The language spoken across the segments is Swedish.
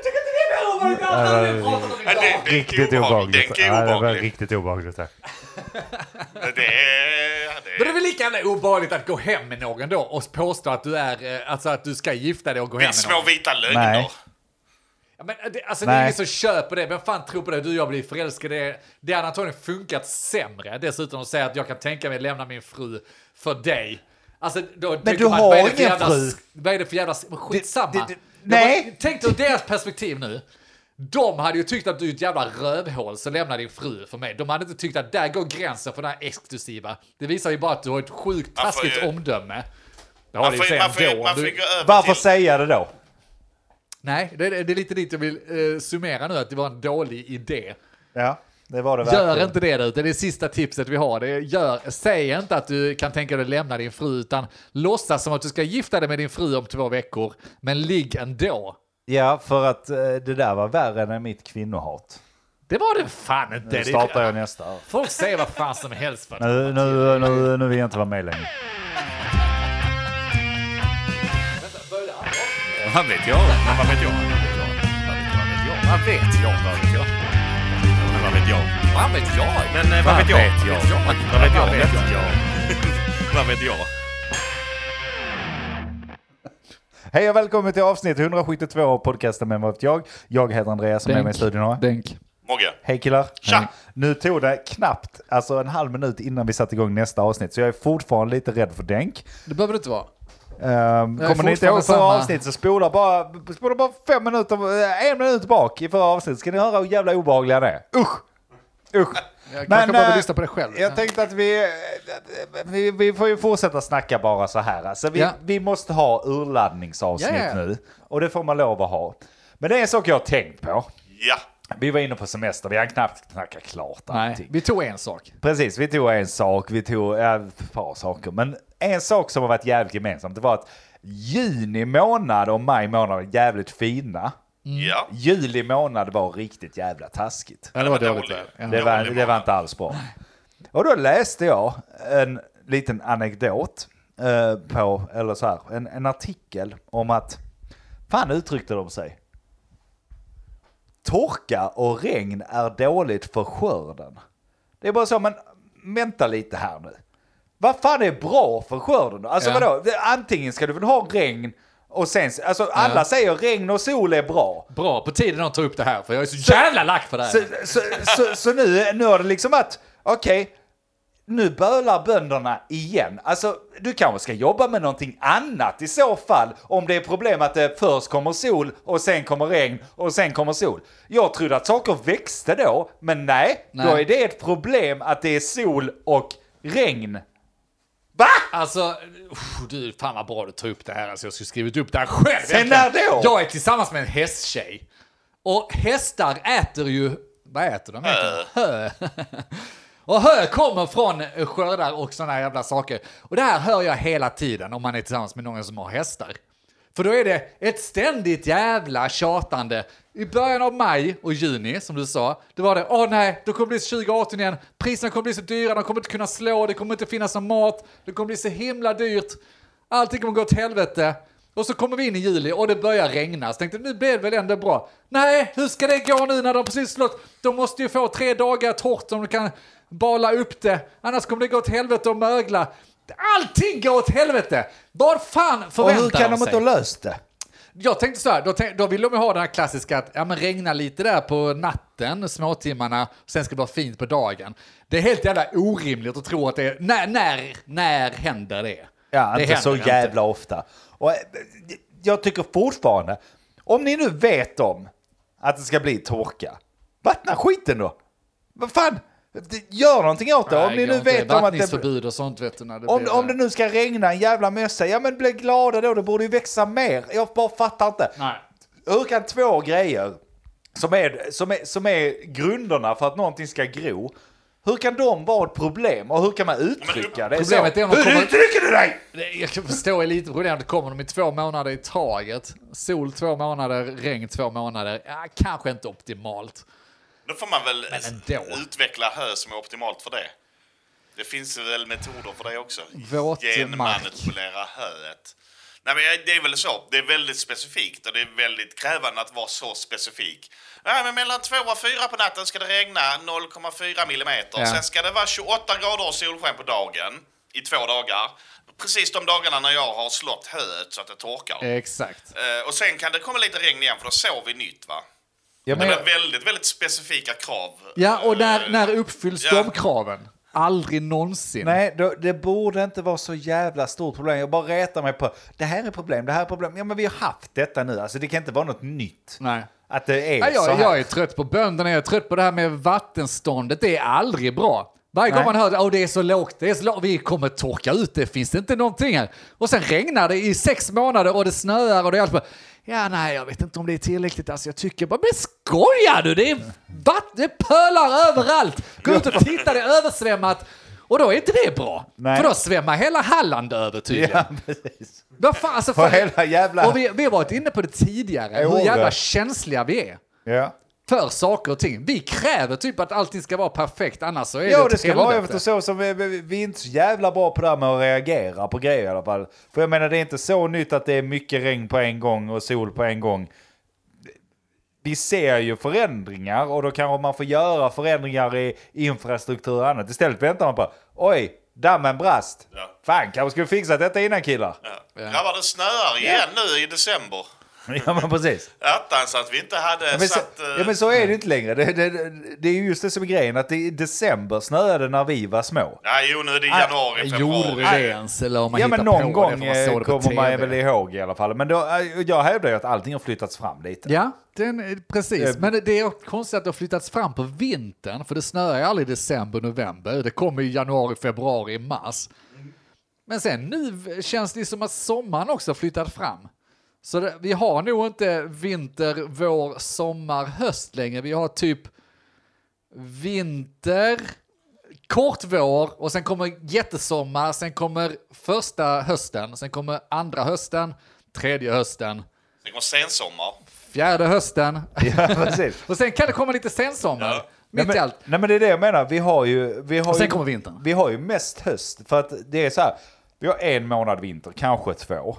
my god, det hade vi pratat om Nej, idag! det- det är Riktigt obehagligt. obehagligt. Det är Ja, det var obehagligt. riktigt obehagligt. Här. Det är... ja, Men det det är är- väl lika jävla obehagligt att gå hem med någon då och påstå att du är, eh, alltså att du ska gifta dig och gå Det hem är med små någon. vita lögner. Nej. Ja, men det, alltså det är Nej. ingen som köper det. Vem fan tror på det? Du och jag blir förälskade. Det, det hade antagligen funkat sämre. Dessutom att säga att jag kan tänka mig att lämna min fru för dig. Alltså, då men du har ingen jävla, fru. Vad är det för jävla... men Skitsamma. Det- det- det- Jag bara- nej. Tänk dig ur deras perspektiv nu. De hade ju tyckt att du är ett jävla rövhål som lämnar din fru för mig. De hade inte tyckt att där går gränsen för den här exklusiva. Det visar ju bara att du har ett sjukt Man får taskigt ju- omdöme. Det har Man du får, ju man får, ändå. man får Du- gå över Varför till... säga det då? Nej, det, det är lite dit jag vill eh, summera nu, att det var en dålig idé. Ja, det var det Gör verkligen. inte det nu, det är det sista tipset vi har. Det är, gör, säg inte att du kan tänka dig att lämna din fru, utan låtsas som att du ska gifta dig med din fru om två veckor, men ligg ändå. Ja, för att eh, det där var värre än mitt kvinnohat. Det var det fan inte. Nu Det- startar jag nästa. här. Folk säger vad fan som helst. För att, Nu, nu, nu, nu vill jag inte vara med längre. Vad vet jag? Vad vet jag? Vad vet jag? Vad vet jag? Vad vet jag? fan vet jag? Men eh, vad vet jag? Vad vet jag? Vad vet jag? Vad vet jag? Hej och välkommen till avsnitt 172 av podcasten Men vad vet jag? Jag heter Andreas och med mig i studion har jag- Denk. Mogge? Hej killar! Tja! Nu tog det knappt alltså en halv minut innan vi satte igång nästa avsnitt, så jag är fortfarande lite rädd för Denk. Det behöver det inte vara. Ehm, är kommer ni inte ihåg fortfarande förra samma. avsnitt så spola bara, spola bara fem minuter, eh, en minut bak i förra avsnittet. Ska ni höra hur jävla obehagliga det är? Usch! Usch! Jag kanske bara vill eh, lyssna på det själv. Jag tänkte att vi, eh, vi, vi får ju fortsätta snacka bara så här. Alltså vi, Ja. vi måste ha urladdningsavsnitt Ja, ja. nu. Och det får man lov att ha. Men det är en sak jag har tänkt på. Ja! Vi var inne på semester, vi har knappt snackat klart Nej, allting. vi tog en sak. Precis, vi tog en sak, vi tog ja, ett par saker. Men en sak som har varit jävligt gemensamt, det var att juni månad och maj månad var jävligt fina. Ja! Juli månad var riktigt jävla taskigt. Ja, det var dåligt. dålig. väder. Ja. Det var, Dålig det var månad. inte alls bra. Och då läste jag en liten anekdot eh, på, eller så här, en, en artikel om att, fan uttryckte de sig? Torka och regn är dåligt för skörden. Det är bara så, men vänta lite här nu. Vad fan är bra för skörden? då? Alltså Ja. vadå, Det- antingen ska du väl ha regn och sen, alltså alla Ja. säger regn och sol är bra. Bra, på tiden de tar upp det här, för jag är så jävla lack för det här. Så, så, så, så nu, nu har det liksom att, okej, nu bölar bönderna igen. Alltså, du kanske ska jobba med någonting annat i så fall, om det är problem att det först kommer sol och sen kommer regn och sen kommer sol. Jag trodde att saker växte då, men nej, Nej. då är det ett problem att det är sol och regn. Va? Alltså, uff, du, fan vad bra du tar upp det här. Alltså, jag skulle skrivit upp det här själv. Sen egentligen. när då? Jag är tillsammans med en hästtjej. Och hästar äter ju... Vad äter de? Hö. hö. och hö kommer från eh, skördar och sådana jävla saker. Och det här hör jag hela tiden om man är tillsammans med någon som har hästar. För då är det ett ständigt jävla tjatande. I början av maj och juni, som du sa, då var det åh nej, då kommer det bli 2018 igen. Priserna kommer bli så dyra, de kommer inte kunna slå, det kommer inte finnas någon mat, det kommer bli så himla dyrt. Allting kommer gå åt helvete. Och så kommer vi in i juli och det börjar regna. Så tänkte jag, nu blir det väl ändå bra. Nej, hur ska det gå nu när de precis slått? De måste ju få tre dagar torrt om de kan bala upp det. Annars kommer det gå åt helvete och mögla. Allting går åt helvete! Vad fan Och förväntar hur kan de sig? inte ha löst det? Jag tänkte så här, då, tänk, då vill de ju ha den här klassiska att ja, men regna lite där på natten, småtimmarna, sen ska det vara fint på dagen. Det är helt jävla orimligt att tro att det är, när, när, när händer det? Ja, det inte så händer jävla ofta. Och eh, jag tycker fortfarande, om ni nu vet om att det ska bli torka, vattna skiten då! Vad fan, Det- gör någonting åt det. om Nej, ni går nu inte. vet om att det... Vattningsförbud och sånt vet du när det Om, blir... om det nu ska regna en jävla mössa, ja men bli glada då, det borde ju växa mer. Jag bara fattar inte. Nej. Hur kan två grejer som är, som, är, som är grunderna för att någonting ska gro, hur kan de vara ett problem och hur kan man uttrycka det? problemet så? är om de hur kommer- uttrycker du dig? Det- Jag kan förstå är lite problemet. Kommer de i två månader i taget? Sol två månader, regn två månader. Ja, kanske inte optimalt. Då får man väl ändå. utveckla hö som är optimalt för det. Det finns väl metoder för det också? Våtmark. Genmanipulera höet. Nej, men det är väl så. Det är väldigt specifikt och det är väldigt krävande att vara så specifik. Nej, men mellan 2 och 4 på natten ska det regna 0,4 millimeter. Ja. Sen ska det vara 28 grader och solsken på dagen i två dagar. Precis de dagarna när jag har slått höet så att det torkar. Exakt. Eh, och sen kan det komma lite regn igen för då sår vi nytt va? Ja, Det men, är väldigt, väldigt specifika krav. Ja, och när, Eh, när uppfylls ja. de kraven? Aldrig någonsin. nej, då, det borde inte vara så jävla stort problem. Jag bara retar mig på det här är problem, det här är problem. Ja, men vi har haft detta nu. Alltså, det kan inte vara något nytt. Nej. Att det är Nej, så jag, här. jag är trött på bönderna, jag är trött på det här med vattenståndet. Det är aldrig bra. Varje gång Nej. man hör att oh, det är så lågt, det är så lågt, vi kommer torka ut, det finns inte någonting här. Och sen regnar det i sex månader och det snöar och det är allt på. Ja, nej, jag vet inte om det är tillräckligt. Alltså, jag tycker bara, men skojar du? Det är vatten, det pölar överallt. Gå ut och titta, det är översvämmat. Och då är inte det bra. Nej. För då svämmar hela Halland över tydligen. Ja, precis. Vad fan, alltså, För hela jävla- Och vi, vi har varit inne på det tidigare, Jo, hur jävla det. känsliga vi är Ja. för saker och ting. Vi kräver typ att allting ska vara perfekt, annars så är det Ja, ett det ska helvete. vara efter så som vi, vi, vi är inte så jävla bra på det här med att reagera på grejer i alla fall. För jag menar, det är inte så nytt att det är mycket regn på en gång och sol på en gång. Vi ser ju förändringar och då kanske man får göra förändringar i infrastruktur och annat. Istället väntar man på, oj, dammen brast. Ja. Fan, kanske skulle vi fixa detta innan killar. Ja. Grabbar, det snöar igen nu i december. Ja, men precis. Attans att vi inte hade Ja, Men så, satt... eh, ja men så är det inte längre. Det, det, det är ju just det som är grejen, att det i december snöade när vi var små. Nej, jo, nu är det Ah, januari, Gjorde februari. det ens, eller om man Ja hittar men någon på gång det för man såg det eh, på kommer man TV. väl ihåg i alla fall. Men då, eh, jag hävdar ju att allting har flyttats fram lite. Ja, den, eh, precis. Men det är konstigt att det har flyttats fram på vintern, för det snöar ju aldrig i december, november. Det kommer i januari, februari, mars. Men sen nu känns det som att sommaren också har flyttat fram. Så det, vi har nog inte vinter, vår, sommar, höst längre. Vi har typ vinter, kort vår och sen kommer jättesommar, sen kommer första hösten, sen kommer andra hösten, tredje hösten, Det kommer sensommar. fjärde hösten. Ja, precis. Och sen kan det komma lite sensommar. Ja. Nej Mitt i men, allt. nej men det är det jag menar, vi har ju... Vi har Och sen ju, kommer vintern. Vi har ju mest höst, för att det är så här. Vi har en månad vinter, kanske två.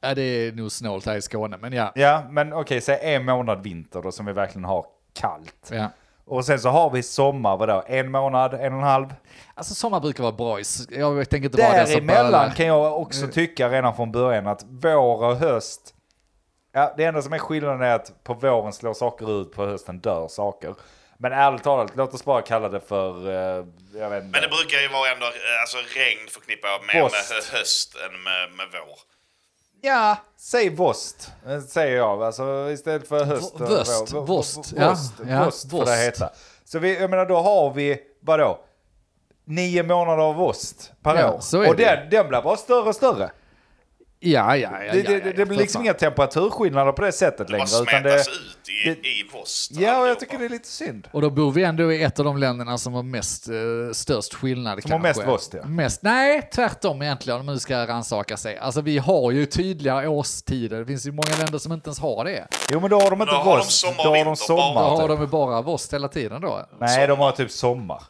Ja, det är nog snålt här i Skåne, men ja. Ja, men okej, säg en månad vinter då som vi verkligen har kallt. ja. Och sen så har vi sommar, vadå? En månad, en och en halv. Alltså sommar brukar vara bra. i s- Jag tänker inte vara den som Däremellan bölar. kan jag också tycka redan från början att vår och höst, ja, det enda som är skillnaden är att på våren slår saker ut, på hösten dör saker. Men ärligt talat, låt oss bara kalla det för, eh, jag vet inte. Men det brukar ju vara ändå... eh, Alltså regn förknippar jag mer Post. med hö- höst än med, med vår. Ja, säg vost, eh, säger jag. Alltså istället för höst. V- vöst, och vår. V- vost, v- ja, Vost, ja, vost får det vost. heta. Så vi, jag menar, då har vi, vadå? Nio månader av vost per Ja, år. så är och det. den, den blir bara större och större. Ja, ja, ja. ja, Det, ja, det, ja, det blir för liksom fan. inga temperaturskillnader på det sättet Det bara längre. Utan det, smetas ut i, det- i post. ja, och jag alltihopa. tycker det är lite synd. Och då bor vi ändå i ett av de länderna som har mest, eh, störst skillnad. Som har kanske. mest vost, ja. Mest, nej, tvärtom egentligen om man nu ska rannsaka sig. Alltså vi har ju tydliga årstider. Det finns ju många länder som inte ens har det. Jo, men då har de inte då har de rost, sommar och då har de vinter, Då Ja, sommar. har typ. de ju bara vost hela tiden då. Nej, de har typ sommar.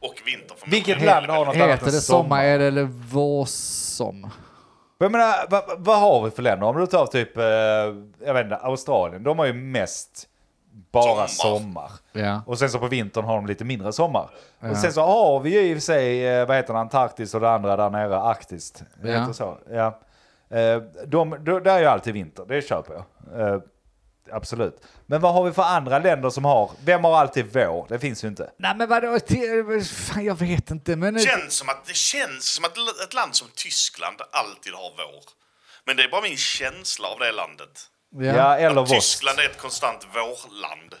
Och vinter för Vilket land har något annat Heter än det sommar sommar? eller vårsom? Jag menar, vad, vad har vi för länder? Om du tar typ, eh, jag vet inte, Australien. De har ju mest bara Sommar. sommar. Ja. Och sen så på vintern har de lite mindre sommar. Ja. Och sen så har vi ju i och för sig, eh, vad heter det, Antarktis och det andra där nere, Arktis. Det Ja. heter så. Ja. Eh, De, de, där är ju alltid vinter, det köper jag. Eh, Absolut. Men vad har vi för andra länder som har, vem har alltid vår? Det finns ju inte. Nej men vadå, Te- fan, jag vet inte. Men nu, Känns som att, det känns som att l- ett land som Tyskland alltid har vår. Men det är bara min känsla av det landet. Ja, eller att vost. Tyskland är ett konstant vårland.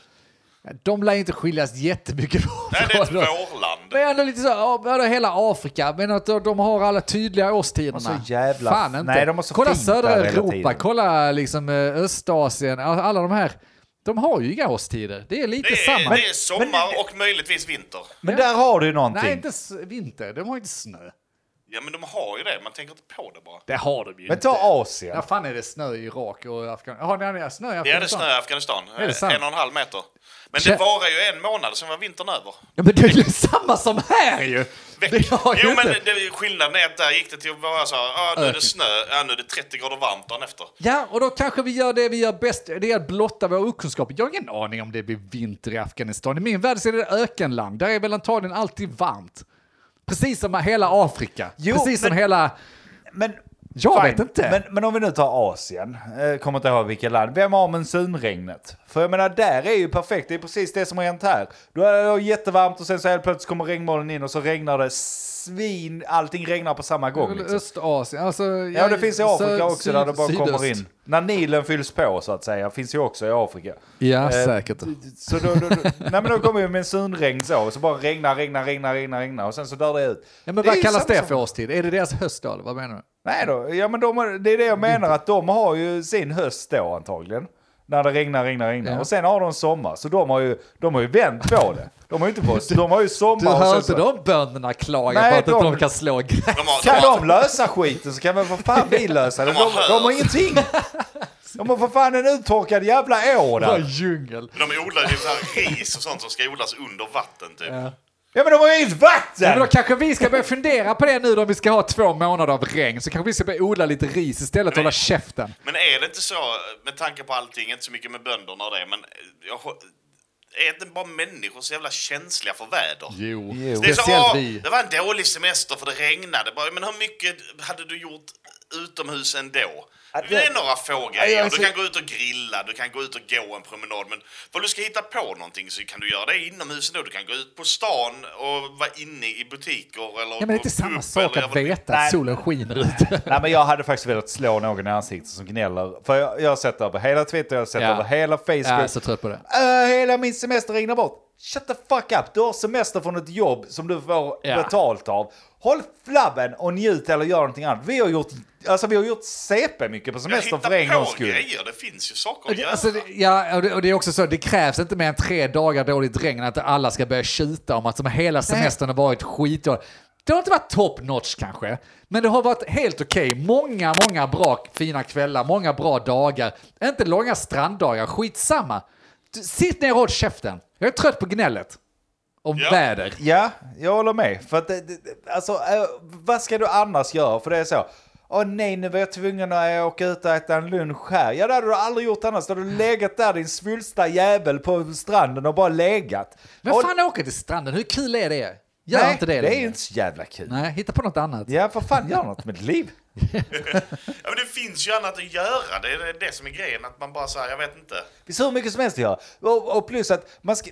De lär inte skiljas jättemycket från Nej, det är ett varandra. vårland. Men ändå lite så, ja, vadå, hela Afrika, men att de- de har alla tydliga årstiderna. De har så jävla- Fan inte. nej, de har så kolla fint södra där hela Europa, tiden. kolla liksom eh, Östasien, all- alla de här. De har ju inga årstider, det är lite Det är, samma. det är sommar och möjligtvis vinter. Men där har du ju någonting. Nej, inte s- vinter, de har ju inte snö. Ja, men de har ju det. Man tänker inte på det bara. Det har de ju Men ta inte. Asien. Ja, fan är det snö i Irak och Afghanistan? Har ni har ni snö i Ja, det Afghanistan? snöar i Afghanistan. det sant? en och en halv meter. Men Kä- det varar ju en månad, sen var vintern över. Ja, men det är ju samma som här ju! veck. Det har jag jo, inte. men det, skillnaden är att där gick det till att vara så här, ah, nu är det Öken. snö, ah, nu är det 30 grader varmt dagen efter. Ja, och då kanske vi gör det vi gör bäst, det är att blotta vår okunskap. Jag har ingen aning om det blir vinter i Afghanistan. I min värld så är det ökenland. Där är väl antagligen alltid varmt. Precis som hela Afrika. Jo, Precis som men- hela... Men, Jag vet inte. Men, men om vi nu tar Asien, eh, kommer inte ihåg vilket land, vem har monsunregnet? För jag menar, där är ju perfekt, det är precis det som har hänt här. Då är det jättevarmt och sen så helt plötsligt kommer regnmolnen in och så regnar det svin, allting regnar på samma Det är gång. väl Liksom. Östasien. Alltså, Ja, det finns i Afrika också där det bara kommer sydöst. in. När Nilen fylls på så att säga, finns ju också i Afrika. Ja, Eh, säkert. Så då, då, då, nej men då kommer ju monsunregn så, och så bara regnar, regnar, regnar, regnar, regnar och sen så dör det ut. Ja, men Det är ju vad kallas samma det sak. för årstid? Är det deras höst då, eller vad menar du? Nej då, ja, men de, har- det är det jag menar att de har ju sin höst då antagligen. När det regnar, regnar, regnar. Ja. Och sen har de sommar. Så de har ju, de har ju vänt på det. De har ju inte på De har ju sommar. Du och hör sen inte så, de bönderna klaga Nej, på att de... de- de kan slå gräs? De har, Kan de har, de lösa skiten så kan väl för fan vi lösa det. De, De har de har ingenting. De har för fan en uttorkad jävla å Vad där. djungel. de odlar ju så här ris och sånt som ska odlas under vatten typ. Ja men de har ju Men inget då vatten! kanske vi ska börja fundera på det nu då om vi ska ha två månader av regn. Så kanske vi ska börja odla lite ris istället och hålla käften. Men är det inte så, med tanke på allting, inte så mycket med bönderna och det, men eh, jag, hå- är inte bara människor så jävla känsliga för väder? Jo, Jo. Det, är så, speciellt "Åh, vi. det var en dålig semester för det regnade bara. Men hur mycket hade du gjort utomhus ändå? Ja, det- Det är några få jag är grejer. Du så- kan gå ut och grilla, du kan gå ut och gå en promenad. Men om du ska hitta på någonting så kan du göra det inomhus ändå. Du kan gå ut på stan och vara inne i butiker eller Ja, men det är inte på pub samma sak eller jag att vet- veta Nej. att solen skiner ute. Nej men jag hade faktiskt velat slå någon i ansiktet som gnäller. För jag, jag har sett över hela Twitter, jag har sett Ja. över hela Facebook. Jag är så trött på det. Äh, hela min semester regnar bort. Shut the fuck up. Du har semester från ett jobb som du får Ja. betalt av. Håll flabben och njut eller gör någonting annat. Vi har gjort, alltså vi har gjort CP mycket på Jag semestern för en hittar gångs på skull. grejer, det finns ju saker att Det- göra. Alltså, det- ja, och det, och det är också så, det krävs inte mer än tre dagar dåligt regn att alla ska börja tjuta om att som hela semestern har varit skitdålig. Det har inte varit top notch kanske, men det har varit helt okej. Många, många bra fina kvällar, många bra dagar. Inte långa stranddagar, skitsamma. Du, sitt ner och håll käften. Jag är trött på gnället. Om Ja. väder. Ja, jag håller med. För att, det- det- alltså, äh, vad ska du annars göra? För det är så. Åh nej, nu var jag tvungen att äh, åka ut och äta en lunch här. Ja, det hade du aldrig gjort annars. Då hade du legat där din svulsta jävel på stranden och bara legat. Men Och- fan åka till stranden, hur kul är det? Gör nej, inte det Det är längre. ju inte så jävla kul. Nej, hitta på något annat. Ja, för fan, gör något med ditt liv. Ja, men det finns ju annat att göra. Det är det som är grejen. Att man bara säger, jag vet inte. Visst hur mycket som helst att göra. Och, och plus att man ska,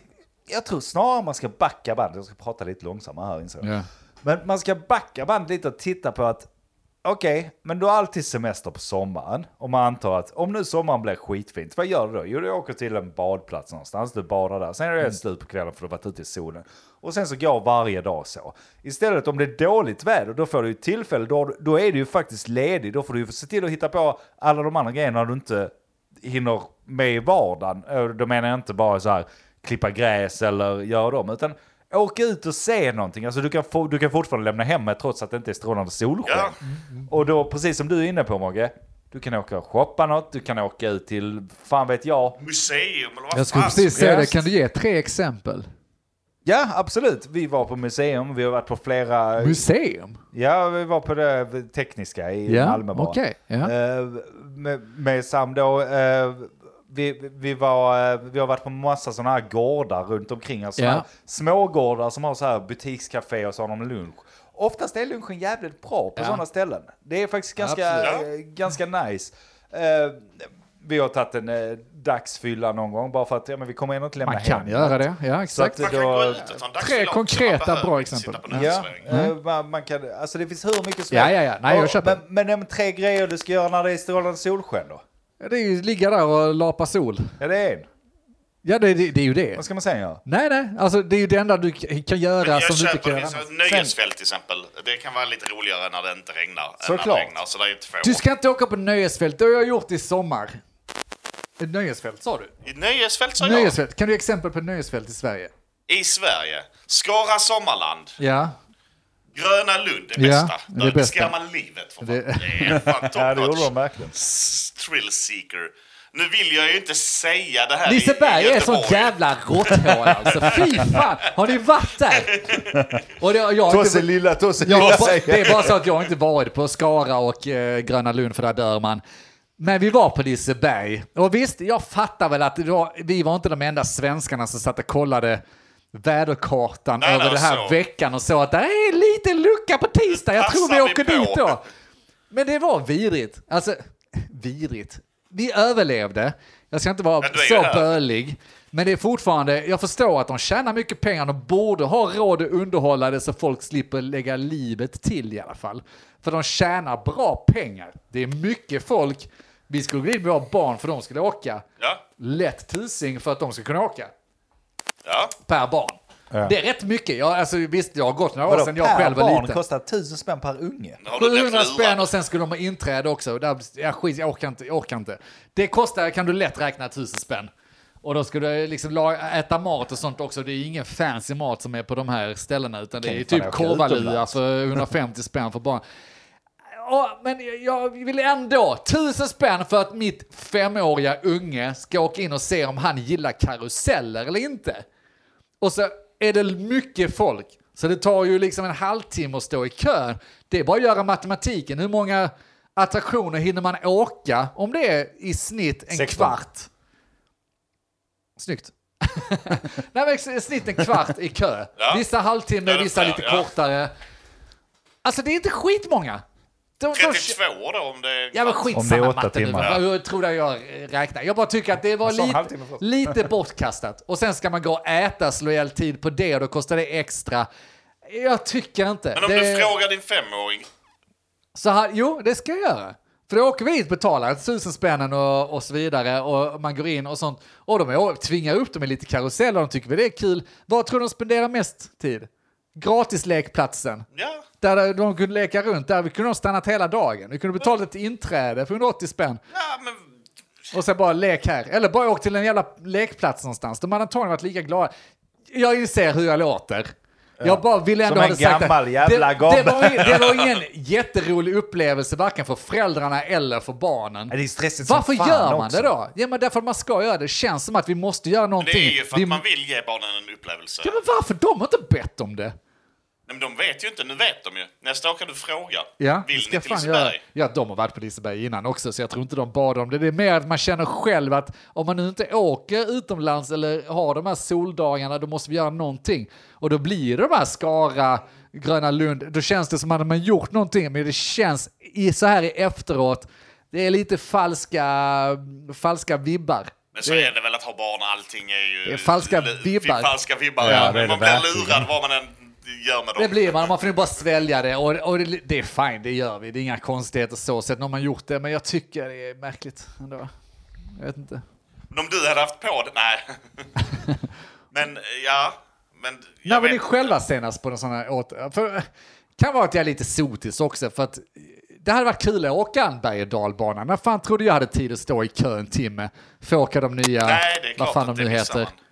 jag tror snarare man ska backa bandet. Jag ska prata lite långsammare här insåg jag. Ja. Men man ska backa bandet lite och titta på att okej, men du har alltid semester på sommaren. Om man antar att om nu sommaren blir skitfint, vad gör du då? Jo, du åker till en badplats någonstans, du badar där. Sen är det helt slut på kvällen för du har varit ute i solen. Och sen så går varje dag så. Istället om det är dåligt väder, då får du ju tillfälle, då, har du- då är du ju faktiskt ledig. Då får du ju se till att hitta på alla de andra grejerna du inte hinner med i vardagen. Eh, Då menar jag inte bara så här klippa gräs eller göra dem, utan åka ut och se någonting. Alltså du kan, få, du kan fortfarande lämna hemmet trots att det inte är strålande solsken. Ja. Och då, precis som du är inne på Mogge, du kan åka och shoppa något, du kan åka ut till, fan vet jag. Museum eller vad Jag skulle fan precis som- säga det, helst. kan du ge tre exempel? Ja, absolut. Vi var på museum, vi har varit på flera... Museum? ja, vi var på det tekniska i Ja, Malmö bara. okej. ja. Eh, med, med Sam då. eh, vi, vi, var, eh, vi har varit på massa sådana här gårdar runt omkring. Alltså Ja. yeah. Smågårdar som har så här butikscafé och så har de lunch. Oftast är lunchen jävligt bra på Ja. sådana ställen. Det är faktiskt ganska, Absolut. eh, ganska nice. Eh, vi har tagit en eh, dagsfylla någon gång bara för att ja, men vi kommer ändå inte lämna Man hem. kan göra det, ja exakt. Så Man att kan då- gå ut och ta en dagsfylla också. konkreta Man behöver bra inte exempel. sitta på en Ja, uteservering. eh, man, man kan, alltså det finns hur mycket som Mm. Ja, helst. ja, ja. Nej, jag Och- köper. Men, men de tre grejer du ska göra när det är strålande solsken då? Ja, Det är ju ligga där och lapa sol. Ja, det är en. Ja, det, det, det är ju det. Vad ska man sen göra? Nej, nej, alltså det är ju det enda du k- kan göra Jag som du inte köper kan göra det. finns annars. ett Nöjesfält till exempel. Det kan vara lite roligare när det inte regnar. än när Såklart. det regnar. Så det är ju två. Du ska inte åka på nöjesfält, det har jag gjort i sommar. Ett nöjesfält sa du? I Nöjesfält sa jag. Nöjesfält, kan du ge exempel på nöjesfält i Sverige? I Sverige. Skara Sommarland. Ja, Gröna Lund Ja, är bästa. det är Där bästa. skrämmer livet för fan. Det- Det är fan Ja, det top gjorde de notch. verkligen. S- Thrill seeker. Nu vill jag ju inte säga det här i- Liseberg i är sånt Göteborg. jävla råtthål alltså. Fy fan, har ni varit där? Och det, jag har Tosse inte, lilla, Tosse jag, lilla bara- det säger. är bara så att jag inte varit på Skara och eh, Gröna Lund för där dör man. Men vi var på Liseberg. Och visst, jag fattar väl att det var, vi var inte de enda svenskarna som satt och kollade väderkartan Nej, alltså. över nej, den här så. veckan och så att det är en liten lucka på tisdag. Jag tror vi Passar vi åker på? dit då. Men det var virrigt. Alltså, virrigt. Vi överlevde. Jag ska inte vara Men du är ju så här. bölig. Men det är fortfarande, jag förstår att de tjänar mycket pengar, de borde ha råd att underhålla det så folk slipper lägga livet till i alla fall. För de tjänar bra pengar. Det är mycket folk. Vi skulle gå dit med våra barn för de skulle åka. Ja, Lätt tusing för att de ska kunna åka. ja. Per barn. Det är rätt mycket. Jag, alltså, visst, jag har gått några år sedan jag per själv var barn liten. kostar tusen spänn per unge. Nu har du blivit 700 lurad. spänn och sen skulle de ha inträde också. Och Där, ja, skit, jag orkar inte, jag orkar inte. Det kostar, kan du lätt räkna, 1000 spänn. Och då skulle du liksom la- äta mat och sånt också. Det är ingen fancy mat som är på de här ställena utan det Kan är ju fan typ åka korvalua utomlands. för 150 spänn för barn. Ja, men jag vill ändå, 1000 spänn för att mitt femåriga unge ska åka in och se om han gillar karuseller eller inte. Och så är det mycket folk. Så det tar ju liksom en halvtimme att stå i kö. Det är bara att göra matematiken. Hur många attraktioner hinner man åka om det är i snitt en 16. kvart? Snyggt. Nej, men i snitt en kvart i kö. Ja. Vissa halvtimme, Ja, det vissa får lite jag, ja. kortare. Alltså det är inte skitmånga. De, de, 32 då om det är... Ja men Om det skitsamma är åtta matte nu. timmar. Vad- Hur tror du jag eh, räknar? Jag bara tycker att det var Jag sa en lite, halvtimme först. lite bortkastat. Och sen ska man gå och äta, slå ihjäl tid på det och då kostar det extra. Jag tycker inte. Men om du frågar din femåring. så här, jo, det ska jag göra. För då åker vi hit, betalar tusen spännen och, och så vidare och man går in och sånt. Och de är, tvingar upp dem i lite karuseller och de tycker väl det är kul. Vad tror du de spenderar mest tid? Gratislekplatsen. Ja, Där de kunde leka runt, där kunde de stannat hela dagen. Vi kunde betala ett inträde för 180 spänn. ja men... Och sen bara lek här. Eller bara åk till en jävla lekplats någonstans. De hade antagligen varit lika glada. Jag inser hur jag låter. Jag bara ville ändå Som ha en det sagt. gammal att det, jävla det, gubbe. var, ing- det var ingen jätterolig upplevelse varken för föräldrarna eller för barnen. Ja, det är stressigt som Varför fan gör man också. det då? Ja, men därför att man ska göra det. Det känns som att vi måste göra någonting. Det är ju för Vi- att man vill ge barnen en upplevelse. ja, men varför? De har inte bett om det. Nej, men de vet ju inte, nu vet de ju. Nästa år kan du fråga. Ja, det Vill ska ni jag till fan göra. Liseberg? Ja, de har varit på Liseberg innan också, så jag tror inte de bad om det. Det är mer att man känner själv att om man nu inte åker utomlands eller har de här soldagarna, då måste vi göra någonting. Och då blir det de här Skara, Gröna Lund, då känns det som att man gjort någonting, men det känns i, så här i efteråt, det är lite falska, falska vibbar. Men så är det väl att ha barn, allting är ju... Det är falska lu- vibbar. Falska vibbar, Ja, ja. det Men är man det blir verkligen. lurad vad man än gör med dem. Det blir man, man får ju bara svälja det och, och det, det är fine, det gör vi. Det är inga konstigheter så sett, nu har man gjort det, men jag tycker det är märkligt ändå. Jag vet inte. Men om du hade haft på det, nej. men ja, men... Nej, jag men ni vet själva senast på en sån här åter... För, kan vara att jag är lite sotis också, för att det hade varit kul att åka en berg och dalbana. När fan trodde jag hade tid att stå i kö en timme för att åka de nya, Nej, det är klart vad fan att de det nu missar heter. man.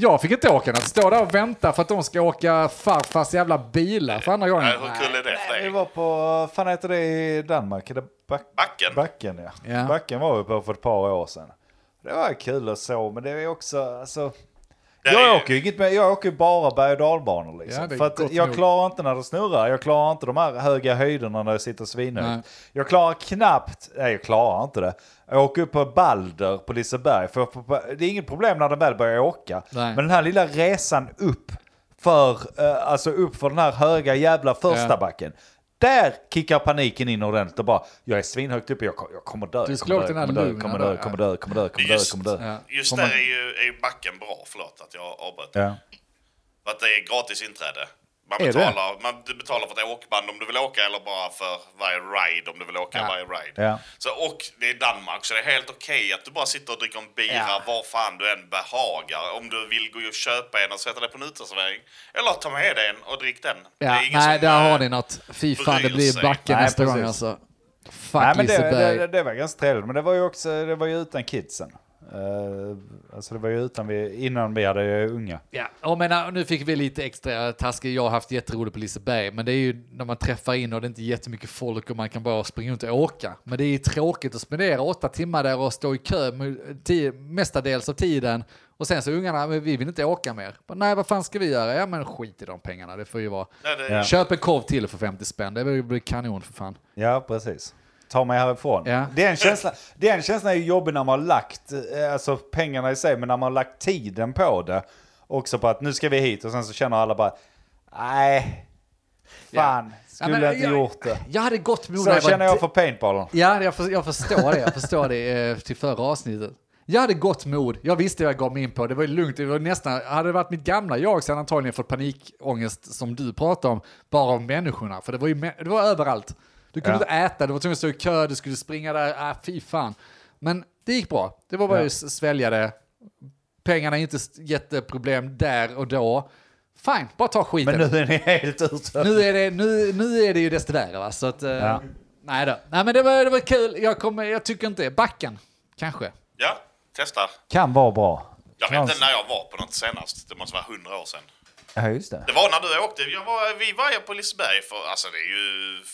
Jag fick inte åka den, att stå där och vänta för att de ska åka farfars jävla bilar för andra gången. Nej, hur kul är det för Vi dig? var på, fan heter det i Danmark? Är det back- Backen? Backen ja. Ja. Backen var vi på för ett par år sedan. Det var kul och så, men det är också, alltså. Det är jag ju- åker ju inget med, jag åker ju bara berg och dalbanor liksom. Ja, det är för att gott jag nog. klarar inte när det snurrar, jag klarar inte de här höga höjderna när jag sitter Nej. svinhögt. Jag klarar knappt, nej jag klarar inte det. Jag åker upp på Balder på Liseberg, för för- det är inget problem när den väl börjar åka. Nej. Men den här lilla resan upp för, eh, alltså upp för den här höga jävla första Ja. backen. Där kickar paniken in ordentligt och bara, jag är svinhögt uppe, jag, jag kommer dö, Du jag slog kommer dö, den jag här kommer dö, luren kommer där, dö, ja. kommer dö, kommer dö, kommer dö, Just- kommer dö. Just Får där man- är ju, är ju backen bra, förlåt att jag avbröt. Ja. För att det är gratis inträde. Man Är det? betalar, man, du betalar för ett åkband om du vill åka eller bara för varje ride om du vill åka Ja. varje ride. Ja. Så, och det är Danmark så det är helt okej att du bara sitter och dricker en bira Ja. var fan du än behagar. Om du vill gå och köpa en och sätta dig på en uteservering. Eller ta med dig en och drick den. Ja, ingen nej, som, där eh, har ni något. Fy fan, det bryr blir sig. backen Nej, nästa gång precis. alltså. Fuck Nej, men det, Liseberg. det, det var ganska trevligt, men det var ju också, det var ju utan kidsen. Eh, alltså det var ju utan vi, innan vi hade unga. Ja, jag menar, nu fick vi lite extra taskigt. Jag har haft jätteroligt på Liseberg, men det är ju när man träffar in och det är inte jättemycket folk och man kan bara springa runt och åka. Men det är ju tråkigt att spendera åtta timmar där och stå i kö med tio, mestadels av tiden. Och sen så ungarna, men vi vill inte åka mer. Bara, Nej, vad fan ska vi göra? Ja, men skit i de pengarna. Det får ju vara. Nej, det, Ja. Köp en korv till för 50 spänn. Det blir kanon för fan. Ja, precis. Ta mig härifrån. Ja. Den, känslan, den känslan är ju jobbig när man har lagt eh, alltså pengarna i sig, men när man har lagt tiden på det. Också på att nu ska vi hit och sen så känner alla bara, nej, fan, Ja, skulle men jag inte gjort det. Jag hade gott mod. när Så känner var jag för paintballen. Ja, jag, för, jag förstår det. Jag förstår det eh, till förra avsnittet. Jag hade gott mod. Jag visste vad jag gav mig in på. Det var ju lugnt. Det var nästan, hade det varit mitt gamla jag så hade jag antagligen fått panikångest som du pratade om, bara om människorna. För det var ju mä- det var överallt. Du kunde Ja. inte äta, du var tvungen att stå i kö, du skulle springa där. Ah, fy fan. Men det gick bra. Det var bara Ja. att s- svälja det. Pengarna är inte s- jätteproblem där och då. Fine, bara ta skiten. Men nu är ni helt ute. Nu är det, nu, nu är det ju desto värre va? Så att, eh, Ja. nej då. Nej men det var, det var kul, jag, kommer, jag tycker inte, backen kanske. ja, testa. Kan vara bra. Jag vet inte när jag var på något senast. Det måste vara hundra år sedan. Ja, just det. Det var när du åkte. Jag var, vi var ju på Liseberg för... Alltså det är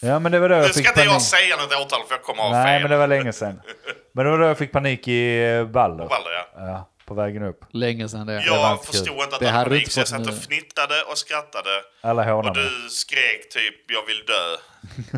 ju... Ja, men det var då Nu jag ska fick inte jag panik. säga något årtal för jag kommer ha Nej, fel. men det var länge sedan. Men det var då jag fick panik i eh, Baller. Valder, ja. Ja, på vägen upp. Länge sedan det. var Jag inte kul. förstod inte att Det det hade du hade panik, inte så jag fått satt nu. och fnittade och skrattade. Alla hånar Och mig. du skrek typ jag vill dö.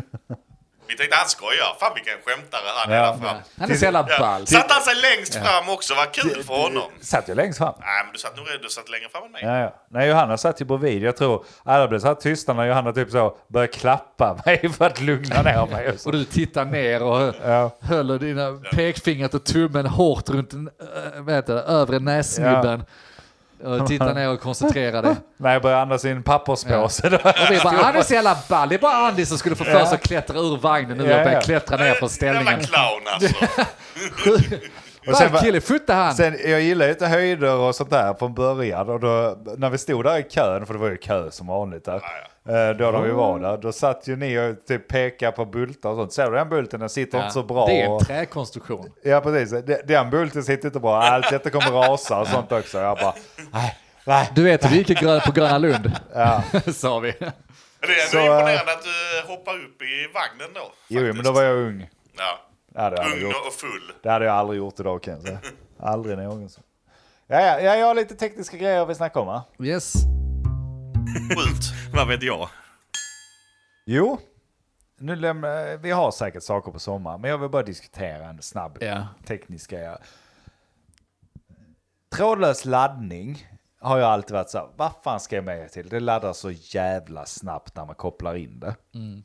Vi tänkte han skojar, fan vilken skämtare han är Ja. där fram. Han är så jävla Ja. ball. Satt han sig längst fram också, vad kul för honom. Satt jag längst fram? Nej men du satt nog du satt längre fram än mig. Ja, ja. Nej, Johanna satt ju bredvid. Jag tror alla blev så här tysta när Johanna typ så började klappa mig för att lugna ner mig. Och Och så. du tittar ner och Ja. höll dina pekfingret och tummen hårt runt den äh, vad heter det, övre näsnibben. Och tittar ner och koncentrerar dig. När jag började andas i en papperspåse. Då. Och vi bara, han är så jävla ball. Det är bara Andy som skulle få för sig att klättra ur vagnen nu och Ja, ja. börja klättra ner från Jävla ställningen. clown alltså. Och sen, Ball var- kille, futta han! sen, jag gillar ju inte höjder och sånt där från början. Och då, när vi stod där i kön, för det var ju kö som vanligt där. eh, Då när vi var där, då satt ju ni och typ pekade på bultar och sånt. Ser du den bulten? Den sitter inte så bra. Det är en Och- träkonstruktion. Ja, precis. De- Den bulten sitter inte bra. Allt detta kommer rasa och sånt också. Jag bara, nej, nej. Du vet hur det gick i grön på Gröna Lund? Ja. Sa vi. Det är Så, ändå imponerande att du hoppar upp i vagnen då. Jo, men då var jag ung. Ja. Ja, det hade jag Ung gjort. och full. Det hade jag aldrig gjort idag kan jag säga. Aldrig någonsin. Ja, ja, ja, jag har lite tekniska grejer vi snackar om va? Yes. Skjut. Vad vet jag? Jo, nu lämnar, vi har säkert saker på sommar, men jag vill bara diskutera en snabb Ja. teknisk grej. Trådlös laddning har jag alltid varit så här, vad fan ska jag med till? Det laddar så jävla snabbt när man kopplar in det. Mm.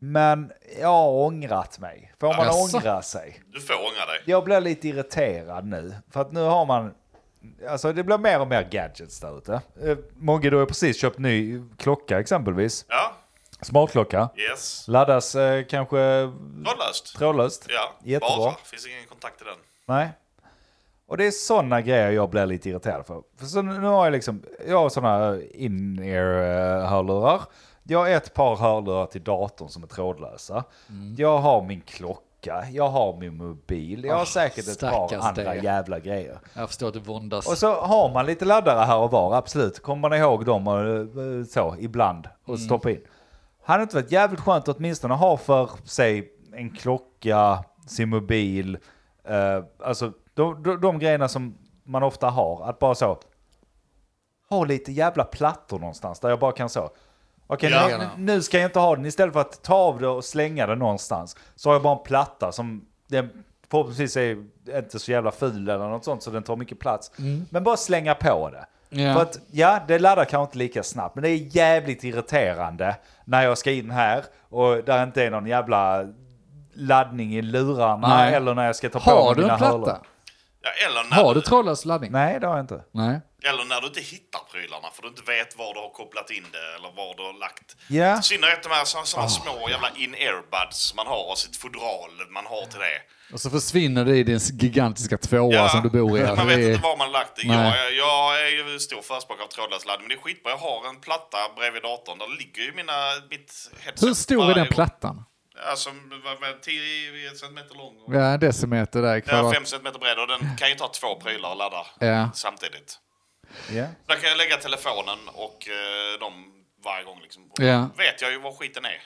Men jag har ångrat mig. Får man Jaså? ångra sig? Du får ångra dig. jag blir lite irriterad nu. För att nu har man... Alltså det blir mer och mer gadgets där ute. Eh, Mogge, du har precis köpt ny klocka exempelvis. Ja, Smartklocka. yes. Laddas eh, kanske Trådlöst. trådlöst. Ja, Jättebra. bara. Finns ingen kontakt i den. Nej. Och det är sådana grejer jag blir lite irriterad för. för så nu har jag liksom, jag har sådana in-ear-hörlurar. Jag har ett par hörlurar till datorn som är trådlösa. Mm. Jag har min klocka, jag har min mobil, jag har säkert ett par stackars andra dig. jävla grejer. Jag förstår att du våndas. Och så har man lite laddare här och var, absolut. Kommer man ihåg dem och eh, så ibland och stoppa in. Hade inte varit jävligt skönt att åtminstone ha för sig en klocka, sin mobil, eh, alltså de, de, de grejerna som man ofta har. Att bara så, ha lite jävla plattor någonstans där jag bara kan så. Okej, Ja. nu, nu ska jag inte ha den. Istället för att ta av det och slänga det någonstans så har jag bara en platta som den förhoppningsvis är inte så jävla ful eller något sånt så den tar mycket plats. Men bara slänga på det. Mm. Ja. För att ja, det laddar kanske inte lika snabbt men det är jävligt irriterande när jag ska in här och där inte är någon jävla laddning i lurarna Nej. eller när jag ska ta på har mig du mina en platta? hörlurar. Ja, eller när Har du trådlös laddning? Nej, det har jag inte. Nej. Eller när du inte hittar prylarna för du inte vet var du har kopplat in det eller var du har lagt. Ja. I synnerhet de här såna, Ah. såna små jävla in-earbuds man har och sitt fodral man har till det. Och så försvinner det i din gigantiska tvåa som du bor i. Man Det vet är- inte var man lagt det. Nej. Jag, jag är ju stor förespråkare av trådlös laddning men det är skitbra. Jag har en platta bredvid datorn. Där ligger ju mina, mitt headset. Hur stor är varje den år. plattan? Alltså, vad- vad- 10 centimeter lång och Ja, en decimeter där i ja, kvadrat. 5 centimeter bred och den kan ju ta två prylar och ladda Ja. samtidigt. Ja. Där kan jag lägga telefonen och eh, dem varje gång. Liksom. Och Ja. då vet jag ju var skiten är.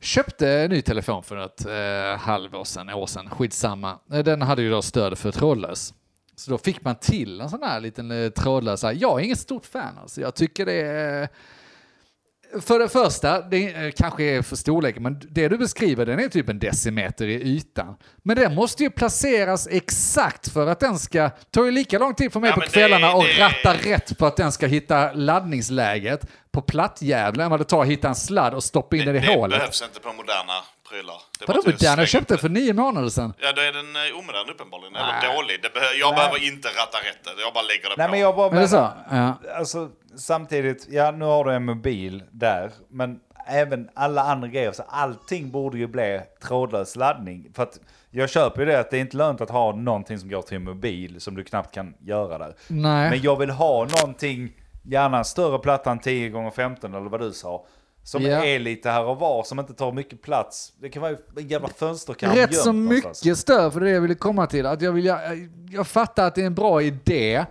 Köpte en ny telefon för ett eh, halvår sedan, år sedan, skitsamma. Eh, Den hade ju då stöd för trådlös. Så då fick man till en sån här liten eh, trådlös. här. Jag är inget stort fan alltså. Jag tycker det är... eh, För det första, det eh, kanske är för storleken, men det du beskriver den är typ en decimeter i ytan. Men den måste ju placeras exakt för att den ska, tar ju lika lång tid för mig Ja, på men det- kvällarna och det- ratta rätt på att den ska hitta laddningsläget på plattjävlen än vad det tar att hitta en sladd och stoppa in den i det hålet. behövs inte på moderna prylar. Det är Vadå bara att modern? Jag slänga köpte upp den för nio månader sedan. Ja, då är den eh, omodern uppenbarligen. Eller Nej. dålig. Det behö- jag Nej. behöver inte ratta rätt det. Jag bara lägger det Nej, på. men jag bara Är det så? menar, Ja. alltså, samtidigt, ja nu har du en mobil där, men även alla andra grejer, så allting borde ju bli trådlös laddning. För att jag köper ju det att det är inte lönt att ha någonting som går till en mobil som du knappt kan göra där. Nej. Men jag vill ha någonting, gärna en större platta än 10x15 eller vad du sa. Som Ja. är lite här och var, som inte tar mycket plats. Det kan vara en jävla fönsterkarm Rätt gömd så någonstans. mycket stöd för det jag ville komma till. Att jag, vill, jag, jag fattar att det är en bra idé.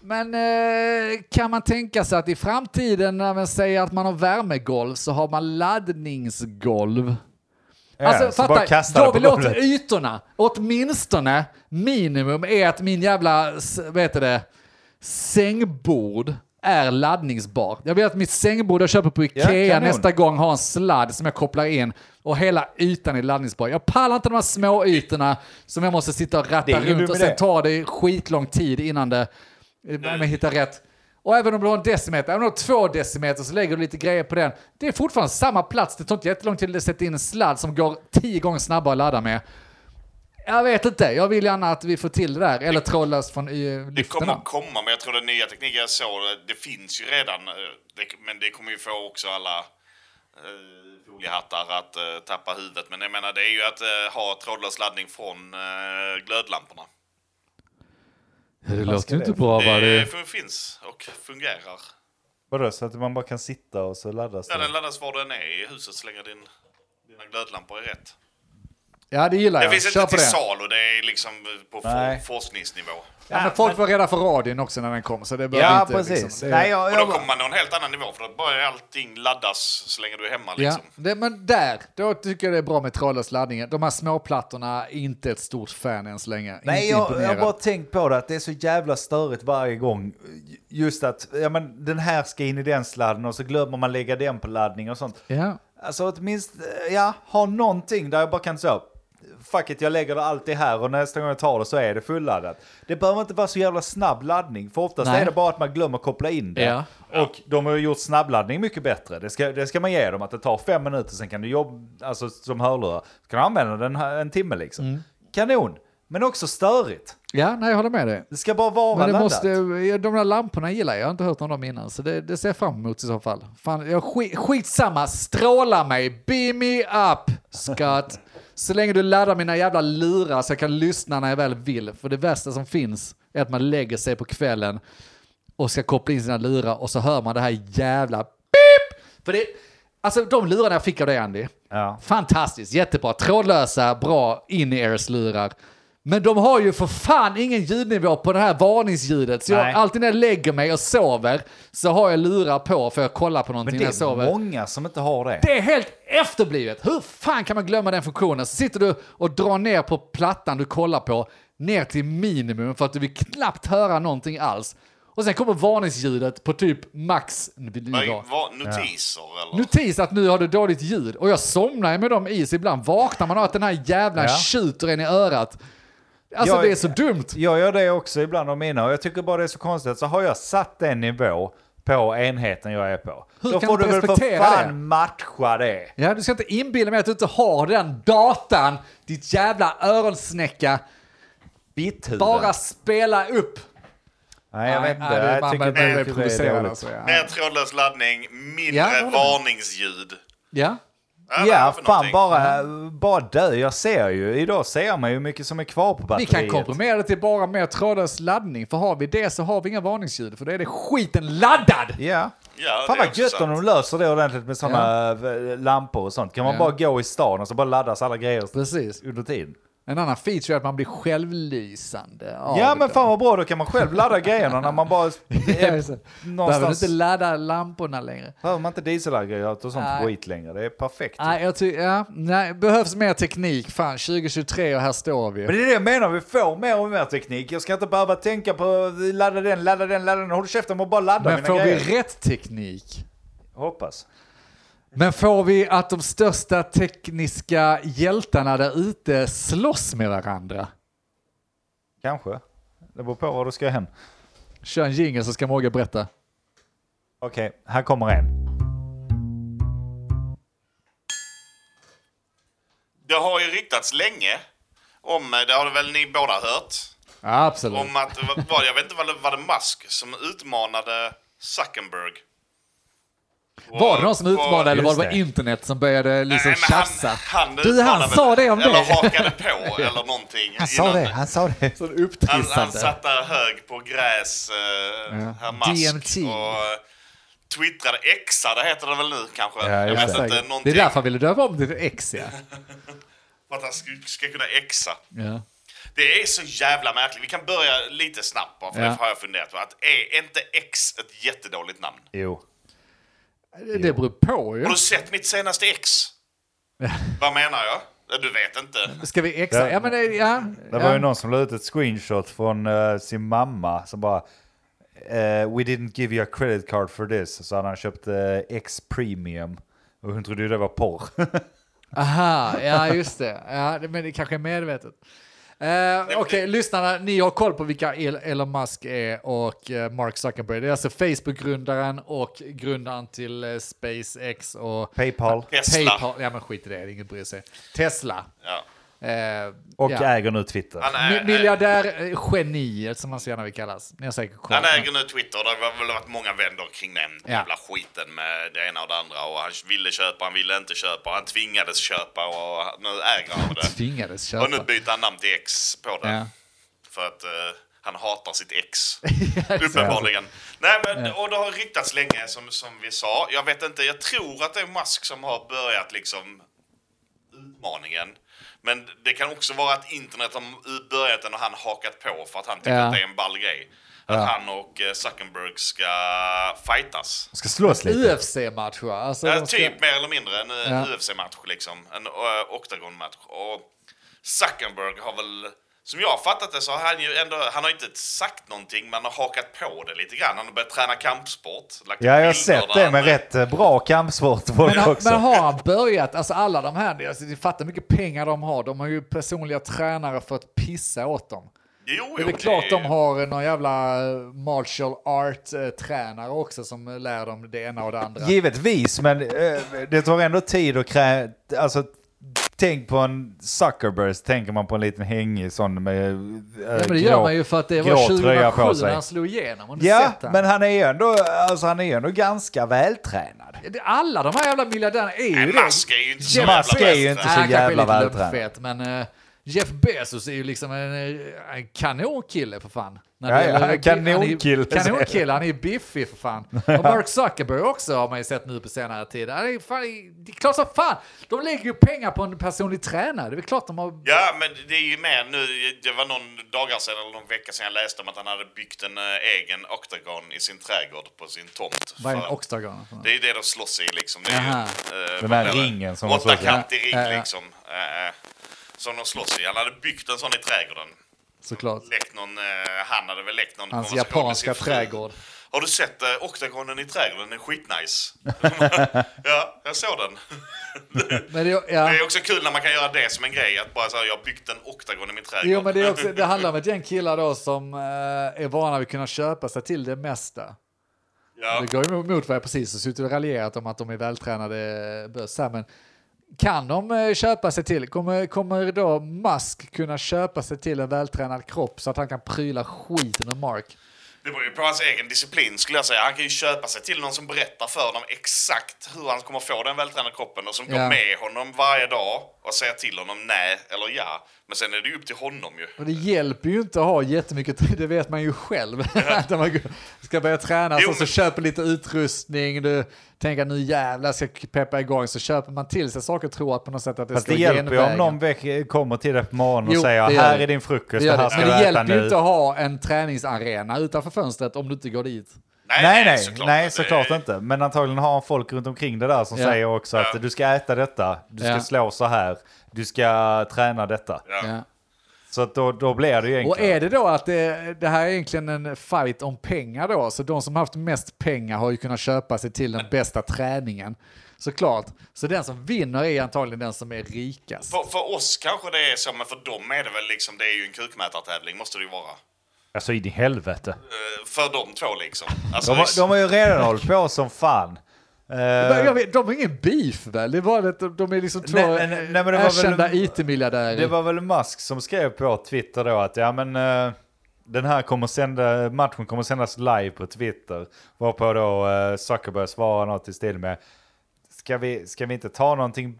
Men eh, kan man tänka sig att i framtiden när man säger att man har värmegolv så har man laddningsgolv? Ja, alltså så bara fatta, kasta det jag på vill åt golvet. ytorna. Åtminstone minimum är att min jävla, s- vad heter det, sängbord är laddningsbar. Jag vill att mitt sängbord jag köper på Ikea kanon. nästa gång har en sladd som jag kopplar in och hela ytan är laddningsbar. Jag pallar inte de här små ytorna som jag måste sitta och Det är ratta ju du runt och med sen det. tar det skitlång tid innan det man hittar rätt. Och även om du har en decimeter, även om du har två decimeter så lägger du lite grejer på den. Det är fortfarande samma plats, det tar inte jättelång tid att sätta in en sladd som går tio gånger snabbare att ladda med. Jag vet inte, jag vill gärna att vi får till det där, eller trollas från eh, Det kommer lyftena. komma, men jag tror den nya tekniken jag såg, det finns ju redan. eh, Det, men det kommer ju få också alla eh, foliehattar att eh, tappa huvudet. Men jag menar, det är ju att eh, ha trådlös laddning från eh, glödlamporna. Det låter låter ju inte inte bra va? Det fun- finns och fungerar. Vadå, så att man bara kan sitta och så laddas Ja, det? den laddas var den är i huset så länge din, dina glödlampor är rätt. Ja, det gillar Det jag. finns Kör på inte till det. salu, det är liksom på for, Nej. forskningsnivå. Ja, men folk var rädda för radion också när den kom, så det behöver Ja, inte... precis. Liksom, det, Nej, jag, Och då jag, kommer man nå en helt annan nivå för då börjar allting laddas så länge du är hemma Ja, liksom. det, men där, då tycker jag det är bra med trådlös laddning. De här småplattorna, är inte ett stort fan än så länge. Nej, inte jag, jag har imponerad. bara tänkt på det, att det är så jävla störigt varje gång. Just att ja, men, den här ska in i den sladden och så glömmer man lägga den på laddning och sånt. Ja. Alltså åtminstone, ja, ha någonting där jag bara kan säga fuck it, jag lägger det alltid här och nästa gång jag tar det så är det fulladdat. Det behöver inte vara så jävla snabb laddning, för oftast Nej. är det bara att man glömmer koppla in det. Ja. Och de har ju gjort snabbladdning mycket bättre, det ska, det ska man ge dem, att det tar fem minuter, sen kan du jobba, alltså som hörlurar, så kan du använda den här en timme liksom. Mm. Kanon, men också störigt. ja, nej, jag håller med dig. Det ska bara vara Men det laddat. måste, ja, de där lamporna gillar jag, jag har inte hört om dem innan. Så det, det ser jag fram emot i så fall. Fan, jag, skit, skitsamma, stråla mig, beam me up, Scott. Så länge du laddar mina jävla lurar så jag kan lyssna när jag väl vill. För det värsta som finns är att man lägger sig på kvällen och ska koppla in sina lurar och så hör man det här jävla beep. För det, alltså de lurarna jag fick av dig Andy, Ja. Fantastiskt, jättebra. Trådlösa, bra in-ears-lurar. Men de har ju för fan ingen ljudnivå på det här varningsljudet. Så jag, Nej. alltid när jag lägger mig och sover så har jag lurar på för jag kollar på någonting Men när det jag är sover. många som inte har det. Det är helt efterblivet. Hur fan kan man glömma den funktionen? Så sitter du och drar ner på plattan du kollar på, ner till minimum för att du vill knappt höra någonting alls. Och sen kommer varningsljudet på typ max nivå. Vad- Vad, notiser eller? Notis att nu har du dåligt ljud och jag somnar ju med dem i så ibland vaknar man av att den här jävla Ja. tjuter en i örat. Alltså Jag- det är så dumt. Jag gör det också ibland om mina och jag tycker bara det är så konstigt. Så har jag satt en nivå på enheten jag är på. Hur då kan får du du väl för respektera fan det? matcha det. Ja, du ska inte inbilla mig att du inte har den datan, ditt jävla öronsnäcka. Bitthuvud. Bara spela upp. Nej, jag vet Nej, inte. nej, jag man tycker blir bara det är provocerad dåligt. alltså, ja. Mer trådlös laddning, mindre Ja, det håller jag med. varningsljud. Ja. Eller ja, för fan någonting. bara, Mm. bara dö. Jag ser ju, idag ser man ju hur mycket som är kvar på Vi batteriet. kan komprimera det till bara mer trådlös laddning, för har vi det så har vi inga varningsljud, för då är det skiten laddad! Ja. Ja, Fan det är vad också gött sant. om de löser det ordentligt med sådana lampor och sånt. Kan man Ja. bara gå i stan och så bara laddas alla grejer Precis. under tiden? En annan feature är att man blir självlysande. av Ja men det. fan vad bra, då kan man själv ladda grejerna när man bara... Ja, just det. Behöver du någonstans inte ladda lamporna längre? behöver man inte dieselaggregat och sånt Nej. skit längre. Det är perfekt. Nej, jag tycker, ja, nej, behövs mer teknik. Fan, 2023 och här står vi. Men det är det jag menar, vi får mer och mer teknik. Jag ska inte behöva tänka på ladda den, ladda den, ladda den. Håll käften och bara ladda Men mina får vi grejer. rätt teknik? Hoppas. Men får vi att de största tekniska hjältarna där ute slåss med varandra? Kanske. Det beror på var du ska hem. Kör en jingle så ska Mogge berätta. Okej, här kommer en. Det har ju ryktats länge om, eh, det har väl ni båda hört, Absolut. om att, var, jag vet inte, var det, var det Musk som utmanade Zuckerberg? Var det någon som Och- utmanade eller var Just det bara det. internet som började liksom Nej, men tjafsa? Han, han du, han utmanade- sa det om Eller dig! hakade på eller någonting. Han sa innan- det, han sa det. Sån Han, han upptrissande. satt där hög på gräs, eh, Ja. herr Musk, DMT. och eh, twittrade, exade heter det väl nu kanske? Ja, jag just vet det. inte, Det någonting. är därför han ville döpa om till ett ex, ja. För att han ska, ska kunna exa. ja. Det är så jävla märkligt. Vi kan börja lite snabbt bara, för Ja. det har jag funderat på. Att är inte X ett jättedåligt namn? Jo. Det- Det beror på ju. Har du sett mitt senaste X? Vad menar jag? Ja, Du vet inte. Ska vi exa? Ja, men det, ja. Det var ja. ju någon som la ut ett screenshot från eh, sin mamma som bara eh, We didn't give you a credit card for this. Så hade han köpt eh, X premium. Och hon trodde ju det var porr. Aha, ja just det. Ja, det- men det kanske är medvetet. Eh, Okej, lyssnarna, ni har koll på vilka El- Elon Musk är och eh, Mark Zuckerberg. Det är alltså Facebook-grundaren och grundaren till eh, SpaceX och Paypal. Tesla. Paypal. Ja men skit i det, det är inget att bry sig. Tesla. Ja. Eh, Och ja. äger nu Twitter. Han, Mi- är, Miljardärgeniet som man så gärna vill kallas. Ni har säkert koll. han äger nu Twitter. Det har väl varit många vändor kring den Ja. jävla skiten med det ena och det andra. Och han ville köpa, han ville inte köpa, han tvingades köpa och nu äger han det. Tvingades Och nu köpa. byter han namn till X på det. Ja. För att eh, han hatar sitt ex. Ja, Uppenbarligen. Nej, men, och det har ryktats länge som, som vi sa. Jag vet inte, jag tror att det är Musk som har börjat liksom utmaningen. Men det kan också vara att internet har börjat den och han hakat på för att han tycker Ja. att det är en ball grej. Att han och eh, Zuckerberg ska fightas. Ska slås lite. UFC-matcher. Alltså, Ja, de ska- typ mer eller mindre en eh, Ja. UFC-match liksom. En uh, oktagonmatch. Och Zuckerberg har väl, som jag har fattat det så har han ju ändå, han har inte sagt någonting men han har hakat på det lite grann. Han har börjat träna kampsport. lagt Ja, jag bilder har sett där det han- med rätt eh, bra kampsport Men, folk han, också. men har han börjat, alltså alla de här, alltså, ni fattar hur mycket pengar de har. De har ju personliga tränare för att pissa åt dem. Jo, jo, Det är väl klart de har någon jävla eh, martial art-tränare också som eh, lär dem det ena och det andra. Givetvis, men eh, det tar ändå tid att krä... Alltså, tänk på en Zuckerberg, så tänker man på en liten hängig sån med... eh, Ja, men det grå- gör man ju för att det grå var tröja på 2007 sig. när han slog igenom. Har ni Ja, sett han? men han är ju ändå, alltså, han är ju ändå ganska vältränad. Det- Alla de här jävla miljardärerna är ju Nej, det. Musk är ju inte så Jeff jävla Musk är ju bäst. Nej, inte så han kanske är jävla lite vältränad. lumpfet, men eh, Jeff Bezos är ju liksom en, eh, en kanonkille för fan. När det Ja, ja, gäller- kanonkille, Han är, säger jag. kanonkille, han är ju biffig för fan. Och Mark Zuckerberg också har man ju sett nu på senare tid. Han är ju fan, det är klart som fan, de lägger ju pengar på en personlig tränare. Det är väl klart de har... Ja, men det är ju mer nu. Det var någon dagar sedan eller någon vecka sedan jag läste om att han hade byggt en eh, egen oktagon i sin trädgård på sin tomt. Vad är en För- oxtagon? Det är ju det de slåss i liksom. Det är ju, Aha. eh, Den vad här heter det? ringen som de slåss i. Åttakantig ring Ja, ja. liksom. eh, eh, som de slåss i. Han hade byggt en sån i trädgården. Såklart. Läckt någon, eh, han hade väl läckt någon Hans konversation med japanska sin fru. trädgård. Har du sett eh, oktagonen i trädgården? Den är skitnice. ja, jag såg den. Men det, ja. Det är också kul när man kan göra det som en grej. Att bara så här, jag har byggt en oktagon i min trädgård. Jo, men det, är också, det handlar om ett gäng killar då som eh, är vana vid att kunna köpa sig till det mesta. ja. Det går ju emot vad jag precis har suttit och raljerat om att de är vältränade böss här, men kan de eh, köpa sig till, kommer, kommer då Musk kunna köpa sig till en vältränad kropp så att han kan pryla skiten ur Mark? Det beror ju på hans egen disciplin skulle jag säga. Han kan ju köpa sig till någon som berättar för honom exakt hur han kommer få den vältränade kroppen och som Ja. går med honom varje dag och säger till honom nej eller ja. Men sen är det ju upp till honom ju. Och det hjälper ju inte att ha jättemycket tid, det vet man ju själv. Att man går- ska börja träna, Jo, så, så men- köper lite utrustning, du tänker nu jävlar ska jag peppa igång, så köper man till sig saker och tror att på något sätt att det Fast ska det hjälper ju om genvägen. någon väck- kommer till dig på morgonen och Jo, säger det gör här det. är din frukost, Det det, gör här det. ska Men du det äta hjälper ju nu. inte att ha en träningsarena utanför fönstret om du inte går dit. Nej, nej, nej, inte. såklart inte. Men antagligen har han folk runt omkring det där som Ja. säger också att du ska äta detta, du ska Ja. slå så här, du ska träna detta. Ja. Ja. Så att då, då blir det ju Och enklare. är det då att det, det här är egentligen en fight om pengar då, så de som haft mest pengar har ju kunnat köpa sig till den bästa träningen. Såklart. Så den som vinner är antagligen den som är Eh. rikast. För, för oss kanske det är så, men för dem är det väl liksom, det är ju en kukmätartävling måste det ju vara. Alltså in i helvete. Eh, För de två liksom. Alltså, De, har- de har ju redan hållit på som fan. Eh, Men jag vet, de har ingen beef väl? Det är bara att de- de är liksom två Nej, nej, nej, men det var väl- erkända IT-miljardärer. Det var väl Musk som skrev på Twitter då att ja men eh, den här kommer sända, matchen kommer sändas live på Twitter. Varpå då eh, Zuckerberg svarar något i stil med ska vi, ska vi inte ta någonting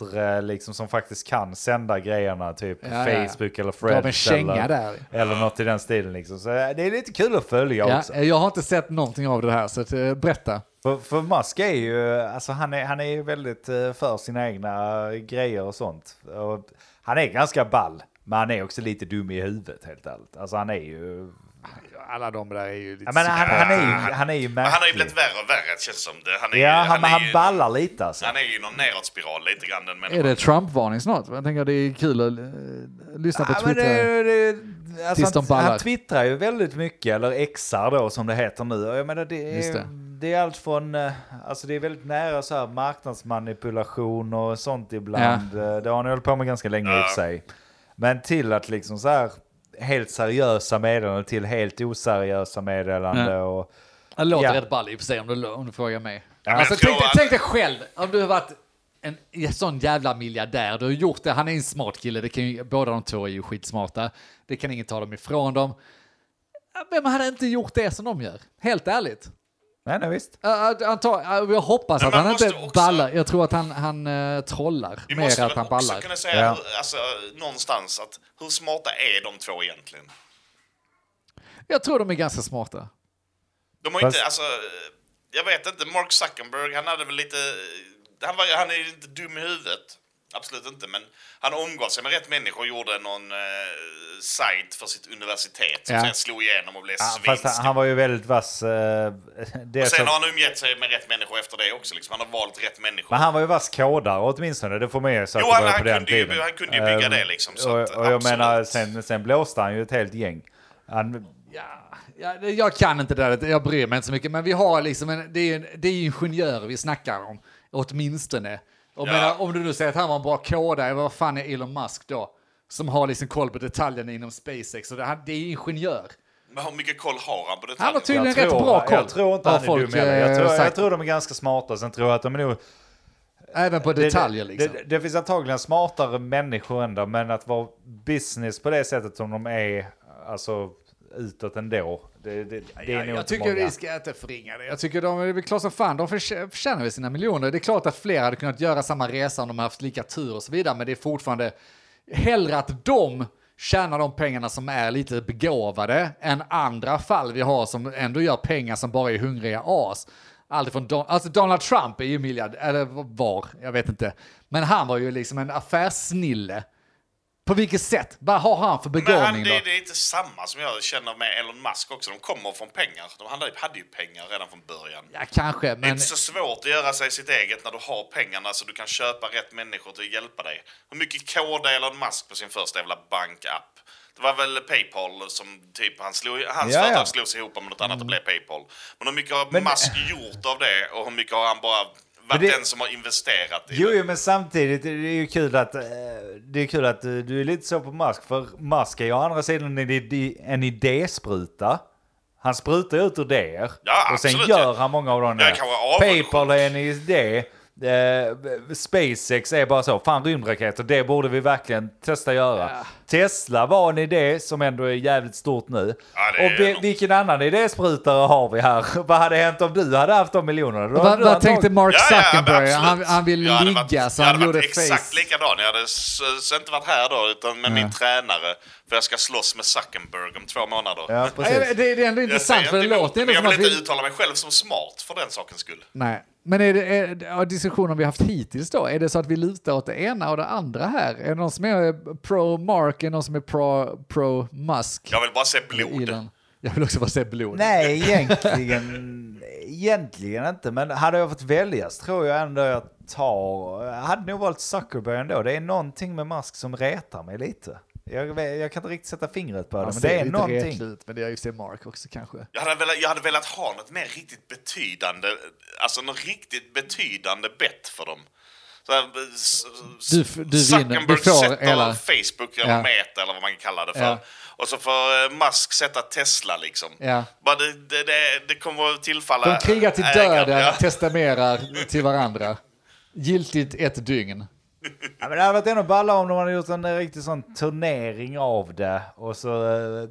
bättre liksom som faktiskt kan sända grejerna typ Ja, ja, ja. Facebook eller Dra med Threads känga eller, där. eller något i den stilen liksom. Så eh, det är lite kul att följa ja, eh, också. jag har inte sett någonting av det här, så att, eh, berätta. För, för Musk är ju, alltså han är, han är ju väldigt eh, för sina egna eh, grejer och sånt. Och han är ganska ball, men han är också lite dum i huvudet helt ärligt. Alltså han är ju... Alla de där är ju lite... Jag menar, han, han är ju, han är ju Men märklig. han har ju blivit värre och värre känns det som. Det. Han är, Ja, ju, han, han, är ju, ballar lite alltså. han är ju i någon nedåtspiral lite grann den är människan. det Trump-varning snart? Jag tänker det är kul att eh, lyssna på Ja, men Twitter. det, det, alltså Tills de han, ballar. han twittrar ju väldigt mycket, eller xar då som det heter nu. Och Jag menar, det, Just är, det. det. är allt från, eh, alltså det är väldigt nära så här marknadsmanipulation och sånt ibland. Eh, Det har han hållit på med ganska länge i och för sig. Men till att liksom så här helt seriösa meddelanden till helt oseriösa meddelanden. Ja. Och, Det låter Ja. rätt ball i och för sig om du, om du frågar mig. men alltså, jag tror tänk, dig- att- tänk dig själv om du har varit en, en sån jävla miljardär. Du har gjort det. Han är en smart kille. Det kan ju, båda de två är ju skitsmarta. Det kan ingen ta dem ifrån dem. Men han har inte gjort det som de gör. Helt ärligt. nej, nej visst. Äh, att- Anta, äh, jag hoppas Men att man han inte måste också- ballar. Jag tror att han, han eh, trollar Vi mer måste än väl att han också ballar. kunna säga Ja. hur, alltså, någonstans att hur smarta är de två egentligen? Jag tror de är ganska smarta. De har Fast- inte, alltså, jag vet inte, Mark Zuckerberg, han hade väl lite, han, var, han är ju inte dum i huvudet. Absolut inte, men han omgav sig med rätt människor och gjorde någon eh, sajt för sitt universitet som Ja. sen slog igenom och blev Ja, fast svinstor. han, han var ju väldigt vass. eh, dels Sen att- har han umgett sig med rätt människor efter det också. Liksom. Han har valt rätt människor. Men han var ju vass kodare åtminstone, det får man ju säkert Jo, han- börja han på den kunde ju- tiden. han kunde ju bygga Eh, det liksom, så att, och, och jag absolut. menar, sen, sen blåste han ju ett helt gäng. Han, Ja, ja, det- jag kan inte det där, jag bryr mig inte så mycket, men vi har liksom en, det, är, en- det är ingenjörer vi snackar om, åtminstone. Och Ja. menar, om du nu säger att han var en bra kodare, vad fan är Elon Musk då? Som har liksom koll på detaljerna inom SpaceX, och det, han, det är ingenjör. Men hur mycket koll har han på det? Han har jag, tydligen rätt tror, bra koll. jag tror inte har han är dum heller. jag eh, tror, jag sagt. tror de är ganska smarta, sen tror jag att de är nog... Även på det- detaljer liksom. det, det finns antagligen smartare människor ändå, men att vara business på det sättet som de är, alltså utåt ändå, det, det, det är jag, jag nog inte tycker många. vi ska inte förringa det. Jag tycker de, det är väl klart som fan, de förtjä- förtjänar väl sina miljoner. Det är klart att fler hade kunnat göra samma resa om de haft lika tur och så vidare, men det är fortfarande hellre att de tjänar de pengarna som är lite begåvade än andra fall vi har som ändå gör pengar som bara är hungriga as. Alltifrån Don- alltså Donald Trump är ju miljard, eller var, jag vet inte. Men han var ju liksom en affärssnille. På vilket sätt? Vad har han för Men begåvning han, då? det, det är inte samma som jag känner med Elon Musk också. De kommer från pengar. De hade, hade ju pengar redan från början. Ja, kanske, Det är men... inte så svårt att göra sig sitt eget när du har pengarna så du kan köpa rätt människor till att hjälpa dig. Hur mycket kodade Elon Musk på sin första jävla bankapp? Det var väl Paypal som typ han slog, hans Ja, ja. företag slog sig ihop med något annat och blev Paypal. Men hur mycket har Musk gjort av det och hur mycket har han bara varit det- den som har investerat i Jo, det? jo, men samtidigt är det ju kul att, eh, det är kul att eh, du är lite så på Musk, för Musk är ju å andra sidan en, id- en idéspruta. Han sprutar ju ut idéer Ja, och sen absolut, gör ja. han många av dem. Jag är kanske avundsjuk. Paypal är en idé. Eh, SpaceX är bara så, fan rymdraketer, det borde vi verkligen testa göra. Tesla var en idé som ändå är jävligt stort nu. Ja, det är och vi, enormt. vilken annan idésprutare har vi här? Vad hade hänt om du hade haft de miljonerna? Då hade Vad, du vad antagligen- tänkte Mark Ja, ja, ja, men Zuckerberg? absolut. han, han ville Jag hade ligga varit- så han Jag hade gjorde varit exakt face. likadan. Jag hade s- s- inte varit här då, utan med min tränare. För jag ska slåss med Zuckerberg om två månader. Ja, Nej, precis. men det, det är ändå Jag intressant säger för det inte emot, låter men ändå jag som att vill inte vi... uttala mig själv som smart för den sakens skull. Nej. Men är det är, ja, diskussionen vi haft hittills då, är det så att vi lutar åt det ena och det andra här? Är det någon som är pro Mark? Är det någon som är pro, pro Musk? Jag vill bara se blod. Elon? Jag vill också bara se blod. Nej, egentligen, egentligen inte. Men hade jag fått väljas tror jag ändå jag tar... Jag hade nog valt Zuckerberg ändå. Det är någonting med Musk som retar mig lite. Jag, vet- jag kan inte riktigt sätta fingret på det, Han men ser alltså, det är lite någonting. retlig ut, men det är ju se Mark också kanske. Jag hade, velat, jag hade velat ha något mer riktigt betydande, alltså något riktigt betydande bett för dem. Så här, s- s- Du f- du vinner. Du Zuckerberg får sätter hela- Facebook eller Ja. Meta eller vad man kallar det för. Ja. Och så får eh, Musk sätta Tesla liksom. Ja. Bara det, det, det, det kommer att tillfalla De krigar till ägaren, döden, ja. testamenterar till varandra. Giltigt ett dygn. Ja, men det hade varit ännu ballare om de hade gjort en riktig sån turnering av det. Och så eh,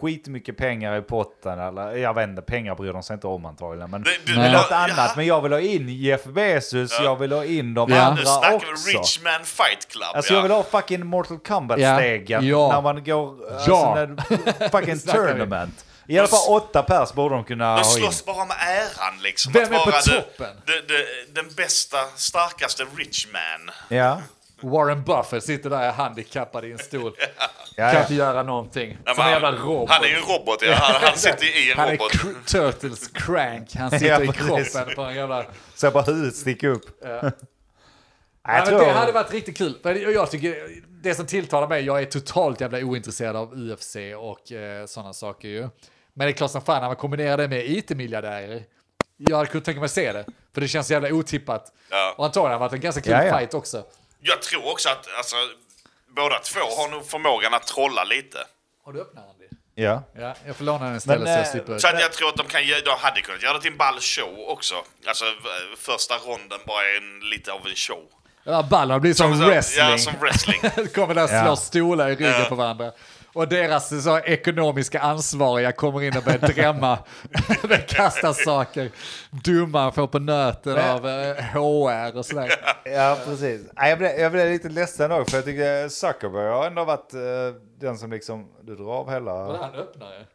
skitmycket pengar i potten. Eller jag vet inte, pengar bryr de sig inte om antagligen. Men Det- det, det- är något Ja. annat. Men jag vill ha in Jeff Bezos, Ja. jag vill ha in de Ja. Nu andra snackar vi också. Rich Man Fight Club. Alltså ja. jag vill ha fucking Mortal Kombat-stegen Ja. Ja. när man går... Alltså, Ja. när, fucking snackar vi. tournament. I alla fall åtta pers borde de kunna De ha in. slåss bara om äran liksom. Vem är på vara det- toppen? det- det- Den bästa, starkaste Rich Man. Ja. Warren Buffett sitter där handikappad i en stol. Ja, Kan ja. inte göra någonting. Nej, Som en men jävla han, robot. han är ju en robot, ja. han, han sitter i en Han är robot. cr- Turtles crank. Han sitter i precis. kroppen på en jävla... Så jag bara huvudet sticker upp. Nej, Ja, jag men tror... det hade varit riktigt kul. För jag jag tycker, det som tilltalar mig, jag är totalt jävla ointresserad av UFC och eh, sådana saker ju. Men det är klart som fan när man kombinerar det med IT-miljardärer. Jag hade kunnat tänka mig att se det, för det känns jävla otippat. Ja. Och antagligen har det varit en ganska kul Ja, ja. fight också. Jag tror också att alltså, båda två har nog förmågan att trolla lite. Har du öppnat Andy? Ja. Ja, jag får låna den istället Men, så jag eh, slipper. Så att jag tror att de, kan, ge- de hade kunnat göra det till en ball show också. Alltså v- första ronden bara är en, lite av en show. Ja, ballarna blir som, Alltså, wrestling. Ja, som wrestling. kommer där och slår Ja. stolar i ryggen Ja. på varandra. Och deras så, ekonomiska ansvariga kommer in och börjar drämma. De kastar saker. Dumma får på nöten av eh, HR och sådär. Ja, precis. Nej, Jag blev, jag blev lite ledsen då, för jag tycker Zuckerberg har ändå varit eh, den som liksom... Du drar av Var hela... det han öppnade?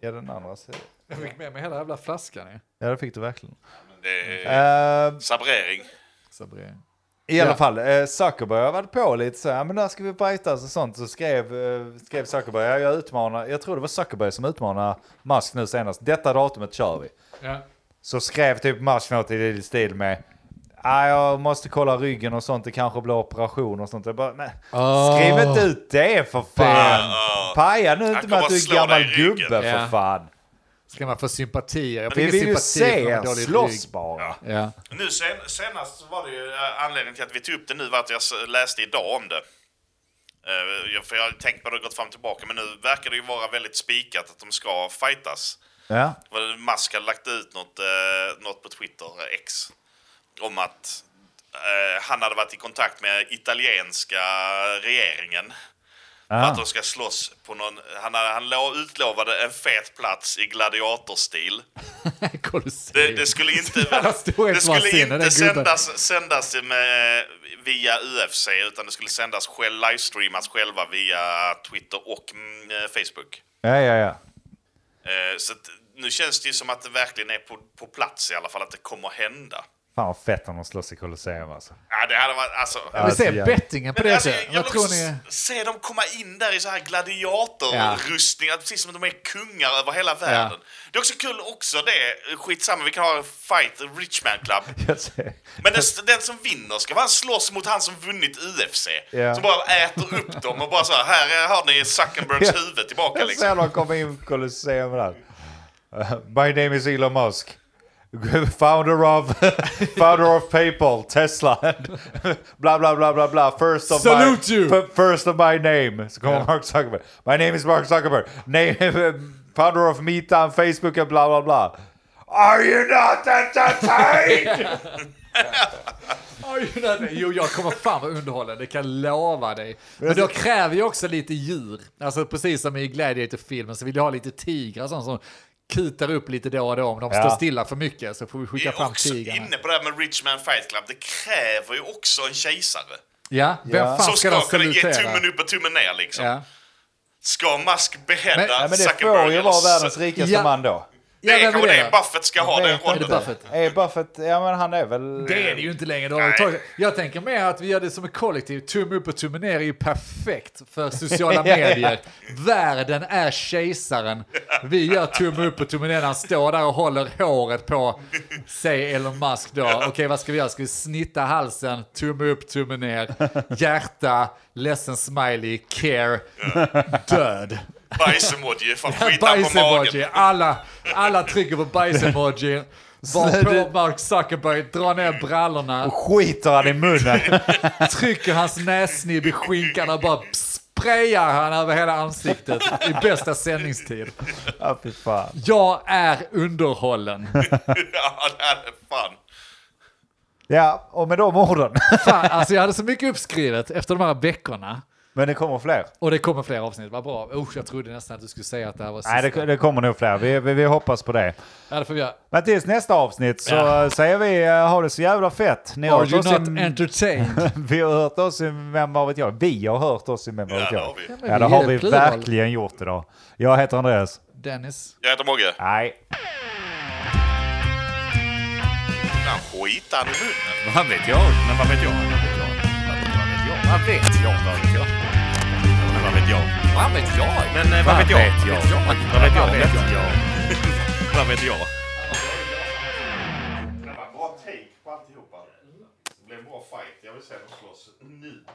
Ja, den andra sidan. Jag fick med mig hela jävla flaskan ju. Ja, det fick du verkligen. Det är Eh, sabrering. Sabrina. I alla Ja. fall, eh, Zuckerberg har varit på lite så här, men när ska vi fightas och sånt. Så skrev, eh, skrev Zuckerberg, "Ja, jag utmanar, jag tror det var Zuckerberg som utmanade Musk nu senast. Detta datumet kör vi. Ja. Så skrev typ Musk något i din stil med, "Ah, jag måste kolla ryggen och sånt, det kanske blir operation och sånt. Jag bara, "Men, Åh. Skriv inte ut det för fan! Paja nu inte med kommer att du är slå gammal dig i ryggen. gubbe för Ja. fan. Ska man få sympatier? Jag Vi fick vill ingen ju sympati se för er en dålig slåss rygg. bara. Ja. Nu sen, senast så var det ju eh, anledningen till att vi tog upp det nu var att jag s- läste idag om det. Eh, jag- För jag har tänkt på det och gått fram och tillbaka, men nu verkar det ju vara väldigt spikat att de ska fightas. Ja. Vad Musk hade lagt ut något, eh, något på Twitter, eh, X, om att eh, han hade varit i kontakt med italienska regeringen. Ah. För Ja. att de ska slåss på någon... Han, hade- han lo- utlovade en fet plats i gladiatorstil. Det, Colosseum. det skulle inte, jävla det skulle storhetsvansinne, den inte gubben. sändas, sändas med, via UFC, utan det skulle sändas själv, livestreamas själva via Twitter och mm, eh, Facebook. ja, ja, ja. Eh, Så att, nu känns det ju som att det verkligen är på, på plats i alla fall, att det kommer hända. Fan vad fett om de slåss i Colosseum alltså. Ja, det hade varit... Alltså, Jag vill se Alltså, ja. bettingen på Men det. alltså, sättet. jag Vad vill tror också ni? s- se dem komma in där i så här gladiatorrustningar, precis som att de är kungar över hela världen. Det är också kul också det, skitsamma, vi kan ha en fight, Rich Man Club. Jag ser- Men den, den som vinner ska bara slåss mot han som vunnit UFC. Ja. Som bara äter upp dem och bara så här, här har ni Zuckerbergs huvud tillbaka Jag liksom. ser dem komma in på Colosseum där. Uh, My name is Elon Musk. Founder of, founder of Paypal, Tesla, and bla bla bla bla bla. First of Salute my, you. f- first of my name. Så kommer Ja. Mark Zuckerberg. My name is Mark Zuckerberg. Name, founder of Meta and Facebook and bla bla bla. Are you not entertained? Oj, nej, nej. Jo, jag kommer fan vara underhållande, det kan jag lova dig. Men då kräver jag också lite djur. Alltså precis som i Gladiator-filmen så vill jag ha lite tigrar och sånt som kutar upp lite då och då. Om de Ja. står stilla för mycket så får vi Vi skicka är fram också tigrarna. inne på det här med Rich Man Fight Club. Det kräver ju också en kejsare. Ja, vem Ja. fan Som ska ska de kunna ge tummen salutera? upp och tummen ner liksom. Ja. Ska Musk Men- behädda Nej, Nej, men det Zuckerberg? får ju eller vara så- världens rikaste Ja. man då. Det Ja, är vem kanske är det det då? Buffett ska ha Vet den inte. det rollen. Buffett? Är Buffett, ja men han är väl... Det är det ju inte längre. Då har vi Ehm, Nej. tagit- Jag tänker mer att vi gör det som ett kollektiv. Tumme upp och tumme ner är ju perfekt för sociala Ja, ja. medier. Världen är kejsaren. Vi gör tumme upp och tumme ner när han står där och håller håret på, säg Elon Musk då. Okej, vad ska vi göra? Ska vi snitta halsen? Tumme upp, tumme ner. Hjärta, ledsen smiley, care, död. Bajsemoji, fan skita på Bajs-emoji. magen. Alla, alla trycker på bajs-emoji. Var Snälla. på Mark Zuckerberg, dra ner brallorna Skiter han i munnen? trycker hans näsnibb i skinkan och bara sprayar han över hela ansiktet i bästa sändningstid. ja, fy fan. Jag är underhållen. ja, det är det fan. Ja, och med de orden. Fan, alltså jag hade så mycket uppskrivet efter de här veckorna. Men det kommer fler. Och det kommer fler avsnitt, vad bra. Usch, jag trodde nästan att du skulle säga att det här var sista. Nej, det, det kommer nog fler. Vi, vi, vi hoppas på det. Ja, det får vi göra. Men tills nästa avsnitt så Ja. eh, säger vi eh, ha det så jävla fett. Ni har Are hört you oss not i, entertained? vi har hört oss i Vem vad vet jag? Vi har hört oss i Vem vad Ja, vet det jag? har vi. men Ja, det vi har är vi plural. verkligen gjort idag. Jag heter Andreas. Dennis? Jag heter Mogge. Nej. Fan, skita han i munnen. Vad vet jag? Men vad vet jag? Vad vet jag? Vad vet jag? Vad vet jag? Men vad vet jag? Vad vet jag? Men eh, vad vet jag? Vad vet jag? Vad vet jag? Vad vet jag? Det var bra take på alltihopa. Det blev en bra fight. Jag vill se dem slåss nu.